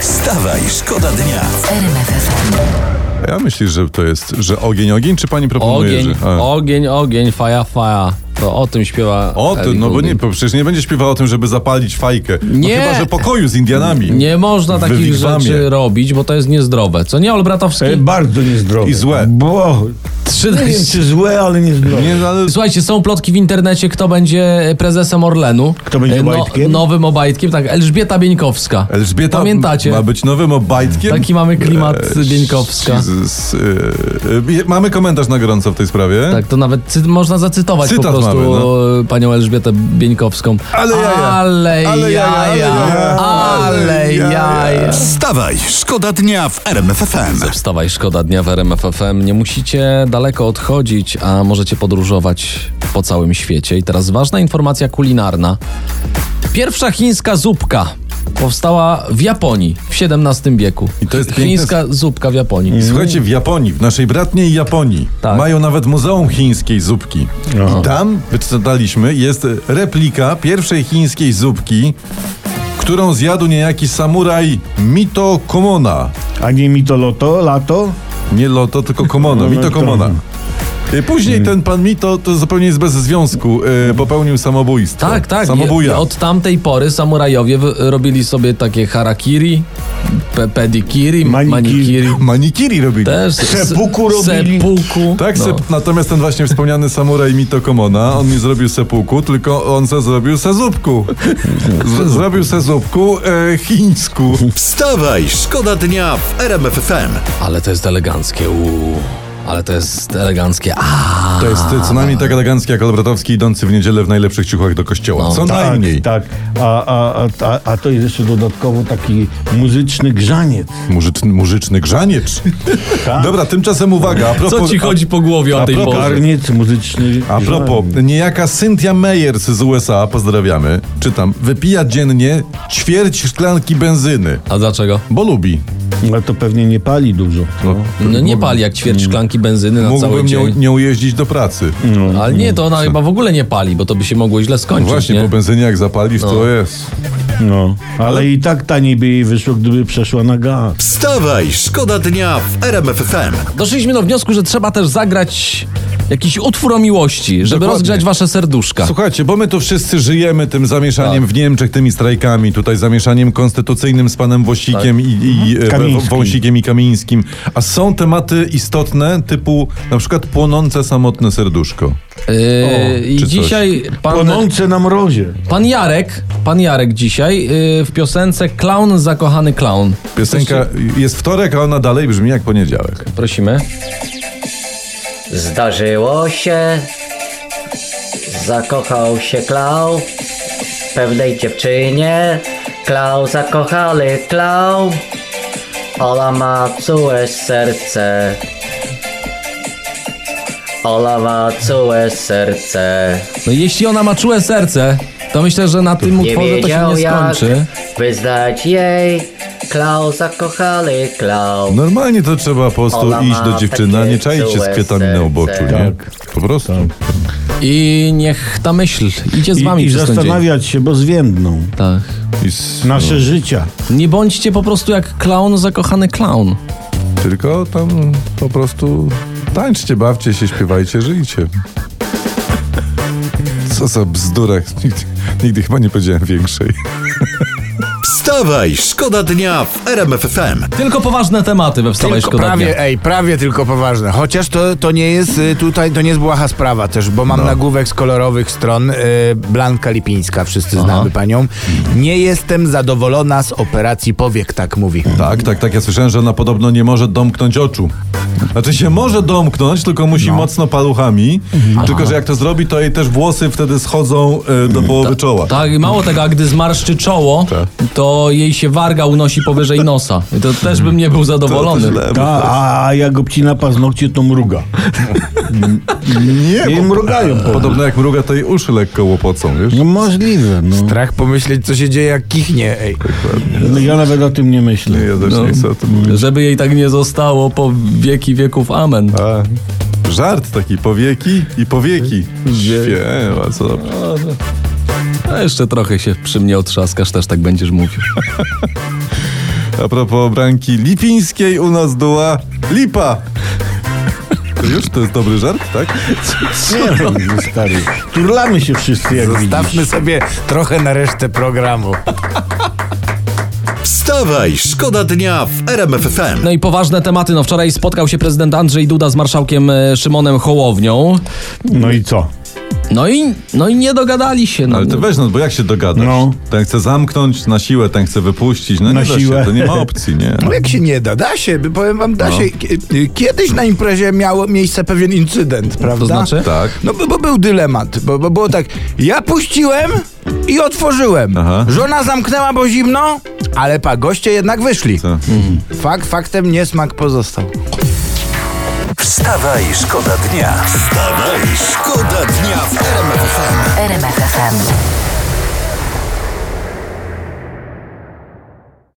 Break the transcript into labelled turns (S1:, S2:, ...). S1: Wstawaj, szkoda dnia.
S2: Ja myślę, że to jest, że ogień, ogień, czy pani proponuje,
S3: Ogień,
S2: że... A.
S3: ogień, ogień, faja, faja. To o tym śpiewa.
S2: O, to,
S3: Ellie
S2: no bo nie,
S3: Goulding.
S2: bo przecież nie będzie śpiewała o tym, żeby zapalić fajkę. No
S3: Nie.
S2: chyba, że pokoju z Indianami.
S3: Nie można
S2: W
S3: takich
S2: wigwamie.
S3: rzeczy robić, bo to jest niezdrowe. Co nie, Olbratowski?
S4: E, bardzo niezdrowe.
S2: I złe.
S4: Bo, nie wiem
S3: 13.
S4: czy złe, ale niezdrowe.
S2: Nie, no ale
S3: Słuchajcie, są plotki w internecie, kto będzie prezesem Orlenu.
S4: Kto będzie
S3: E,
S4: Obajtkiem?
S3: Nowym Obajtkiem, tak. Elżbieta Bieńkowska.
S2: Elżbieta
S3: Pamiętacie?
S2: ma być nowym obajtkiem?
S3: Taki mamy klimat
S2: E,
S3: Bieńkowska.
S2: Jesus, e, e, mamy komentarz na gorąco w tej sprawie.
S3: Tak, to nawet cy- można zacytować
S2: Cytat
S3: po prostu
S2: mamy, no.
S3: e, panią Elżbietę Bieńkowską.
S2: Ale jaja.
S3: Ale
S2: Ale jaja,
S3: jaja.
S2: ale jaja.
S3: Ale
S2: Ale
S3: jaja.
S2: jaja.
S1: Wstawaj, szkoda dnia w RMFFM.
S3: Wstawaj, szkoda dnia w RMF FM. Nie musicie daleko odchodzić, a możecie podróżować po całym świecie. I teraz ważna informacja kulinarna. Pierwsza chińska zupka powstała w Japonii w XVII wieku.
S2: I to jest
S3: Chi-
S2: piękne-
S3: chińska zupka w Japonii.
S2: I słuchajcie, w Japonii, w naszej bratniej Japonii,
S3: Tak.
S2: mają nawet Muzeum Chińskiej Zupki. I tam, wyczytaliśmy, jest replika pierwszej chińskiej zupki, którą zjadł niejaki samuraj Mito Komona.
S4: A nie mi to loto, lato?
S2: Nie Loto, tylko Komona,
S4: No,
S2: Mito
S4: no,
S2: Komona. Y,
S3: Mm.
S2: Później ten pan Mito, to zupełnie jest bez związku, y, popełnił samobójstwo.
S3: Tak, tak. I- i
S2: Samobuja.
S3: Od tamtej pory samurajowie wy- robili sobie takie harakiri, pe- pedikiri,
S4: Manikiri.
S3: manikiri.
S2: Manikiri robili.
S3: Też
S4: Seppuku robili.
S3: Sepuku. No,
S2: Tak, sep- natomiast ten właśnie wspomniany samuraj Mito Komona, on nie zrobił sepuku, tylko on se zrobił sezupku. Z- zrobił sezupku e, chińsku.
S1: Wstawaj, szkoda dnia w RMFFM.
S3: Ale to jest eleganckie. Uuu. Ale to jest eleganckie. A.
S2: To jest e, co najmniej tak elegancki jak Olbratowski idący w niedzielę w najlepszych ciuchach do kościoła.
S3: No,
S2: co
S4: Tak,
S2: najmniej.
S4: tak. A, a, a, a, a to jest jeszcze dodatkowo taki muzyczny grzaniec.
S2: Murzyczny, murzyczny grzaniecz.
S4: Tak.
S2: Dobra, tymczasem uwaga. A propos,
S3: Co ci chodzi po głowie o tej
S2: propos-
S3: porze?
S4: Garniec muzyczny.
S2: A propos,
S4: grzaniec.
S2: niejaka Cynthia Meyers z USA, pozdrawiamy, czytam, wypija dziennie ćwierć szklanki benzyny,
S3: A dlaczego?
S2: bo lubi.
S4: Ale to pewnie nie pali dużo. No.
S3: No nie pali jak ćwierć szklanki benzyny na cały
S2: Mm. Mógłbym nie,
S3: dzień. Mhm.
S2: nie ujeździć do pracy.
S3: Ale nie, to ona chyba w ogóle nie pali, bo to by się mogło źle skończyć,
S2: Właśnie,
S3: nie?
S2: po benzynie jak zapalisz, to jest.
S4: No. Ale i tak taniej by jej wyszło, gdyby przeszła na gaz.
S1: Wstawaj, szkoda dnia w RMFFM.
S3: Doszliśmy do wniosku, że trzeba też zagrać jakiś utwór o miłości, żeby
S2: Dokładnie.
S3: rozgrzać wasze serduszka.
S2: Słuchajcie, bo my tu wszyscy żyjemy tym zamieszaniem
S5: Tak.
S2: w Niemczech, tymi strajkami, tutaj zamieszaniem konstytucyjnym z panem Wosikiem
S5: Tak.
S2: i, i e,
S4: Kamińskim.
S2: Wą- Wąsikiem i Kamińskim. A są tematy istotne, typu na przykład płonące samotne serduszko.
S3: Yy, I
S2: czy coś.
S3: dzisiaj pan,
S4: Płonące na mrozie.
S3: pan Jarek, pan Jarek dzisiaj yy, w piosence Clown zakochany clown.
S2: Piosenka jest wtorek, a ona dalej brzmi jak poniedziałek.
S3: Prosimy.
S5: Zdarzyło się, zakochał się Klau w pewnej dziewczynie. Klau zakochany Klau, Ola ma całe serce. Ola ma całe serce.
S3: No, jeśli ona ma czułe serce, to myślę, że na tym
S5: Nie
S3: utworze to się
S5: wiedział
S3: nie
S5: jak
S3: skończy.
S5: wyznać jej. Klau zakochany Klau.
S2: Normalnie to trzeba po prostu
S5: Ona
S2: iść do
S5: ma
S2: dziewczyny, a
S5: takie
S2: nie czaić się z
S5: czułe
S2: kwiatami na uboczu,
S5: serce.
S2: nie? Po prostu.
S3: I niech ta myśl idzie z wami
S4: I, i
S3: przez ten dzień.
S4: zastanawiać się, bo zwiędną.
S3: Tak.
S2: I s-
S4: Nasze życia.
S3: Nie bądźcie po prostu jak klaun zakochany klaun.
S2: Tylko tam po prostu tańczcie, bawcie się, śpiewajcie, żyjcie. Co za bzdura. Nigdy, nigdy chyba nie powiedziałem większej.
S1: Wstawaj, szkoda dnia w RMFFM.
S3: Tylko poważne tematy we wstawaj
S6: Tylko
S3: szkoda
S6: prawie,
S3: dnia.
S6: ej, prawie tylko poważne. Chociaż to, to nie jest y, tutaj, to nie jest błaha sprawa też, bo mam
S3: No.
S6: nagłówek z kolorowych stron. y, Blanka Lipińska, wszyscy znamy panią. Nie jestem zadowolona z operacji powiek, tak mówi.
S2: Tak, tak, tak. Ja słyszałem, że ona podobno nie może domknąć oczu. Znaczy się może domknąć, tylko musi mocno paluchami. Tylko, że jak to zrobi, to jej też włosy wtedy schodzą e, do połowy czoła.
S3: Tak, i mało tego, a gdy zmarszczy czoło, to jej się warga unosi powyżej nosa. I to też bym nie był zadowolony.
S2: źle.
S4: Ta, a jak obcina paznokcie, to mruga.
S2: Nie,
S4: I mrugają.
S2: bo- podobno jak mruga, to jej uszy lekko łopocą, wiesz?
S4: No możliwe, no.
S6: Strach pomyśleć, co się dzieje, jak kichnie, ej.
S4: no. Ja nawet o tym nie myślę.
S2: Ja też nie chcę o tym mówić.
S3: Żeby jej tak nie zostało po wieki wieków amen.
S2: A, żart taki, powieki i powieki. Świema, co dobrze.
S3: A jeszcze trochę się przy mnie otrzaskasz, też tak będziesz mówił.
S2: A propos branki lipińskiej, u nas była lipa. To już to jest dobry żart, tak?
S4: Nie, no, stary. Turlamy się wszyscy, jak widzisz.
S6: Dawmy sobie trochę na resztę programu.
S1: Wstawaj, szkoda dnia w RMF FM.
S3: No i poważne tematy. No wczoraj spotkał się prezydent Andrzej Duda z marszałkiem e, Szymonem Hołownią.
S4: No i co?
S3: No i, no i nie dogadali się. No.
S2: Ale to weź, no bo jak się dogadasz?
S4: No.
S2: Ten chce zamknąć na siłę, ten chce wypuścić. No
S4: Na
S2: nie da
S4: siłę.
S2: się, to nie ma opcji, nie.
S6: No jak się nie da? Da się, by- powiem wam, da się. Kie- Kiedyś na imprezie miało miejsce pewien incydent, prawda?
S3: znaczy?
S2: Tak.
S6: No bo, bo był dylemat, bo, bo było tak, ja puściłem i otworzyłem.
S2: Aha.
S6: Żona zamknęła, bo zimno, ale pa, goście jednak wyszli.
S2: Co?
S6: Fakt faktem, niesmak pozostał.
S1: Wstawaj, szkoda dnia. Wstawaj, szkoda dnia w RMF FM.
S7: RMFFM.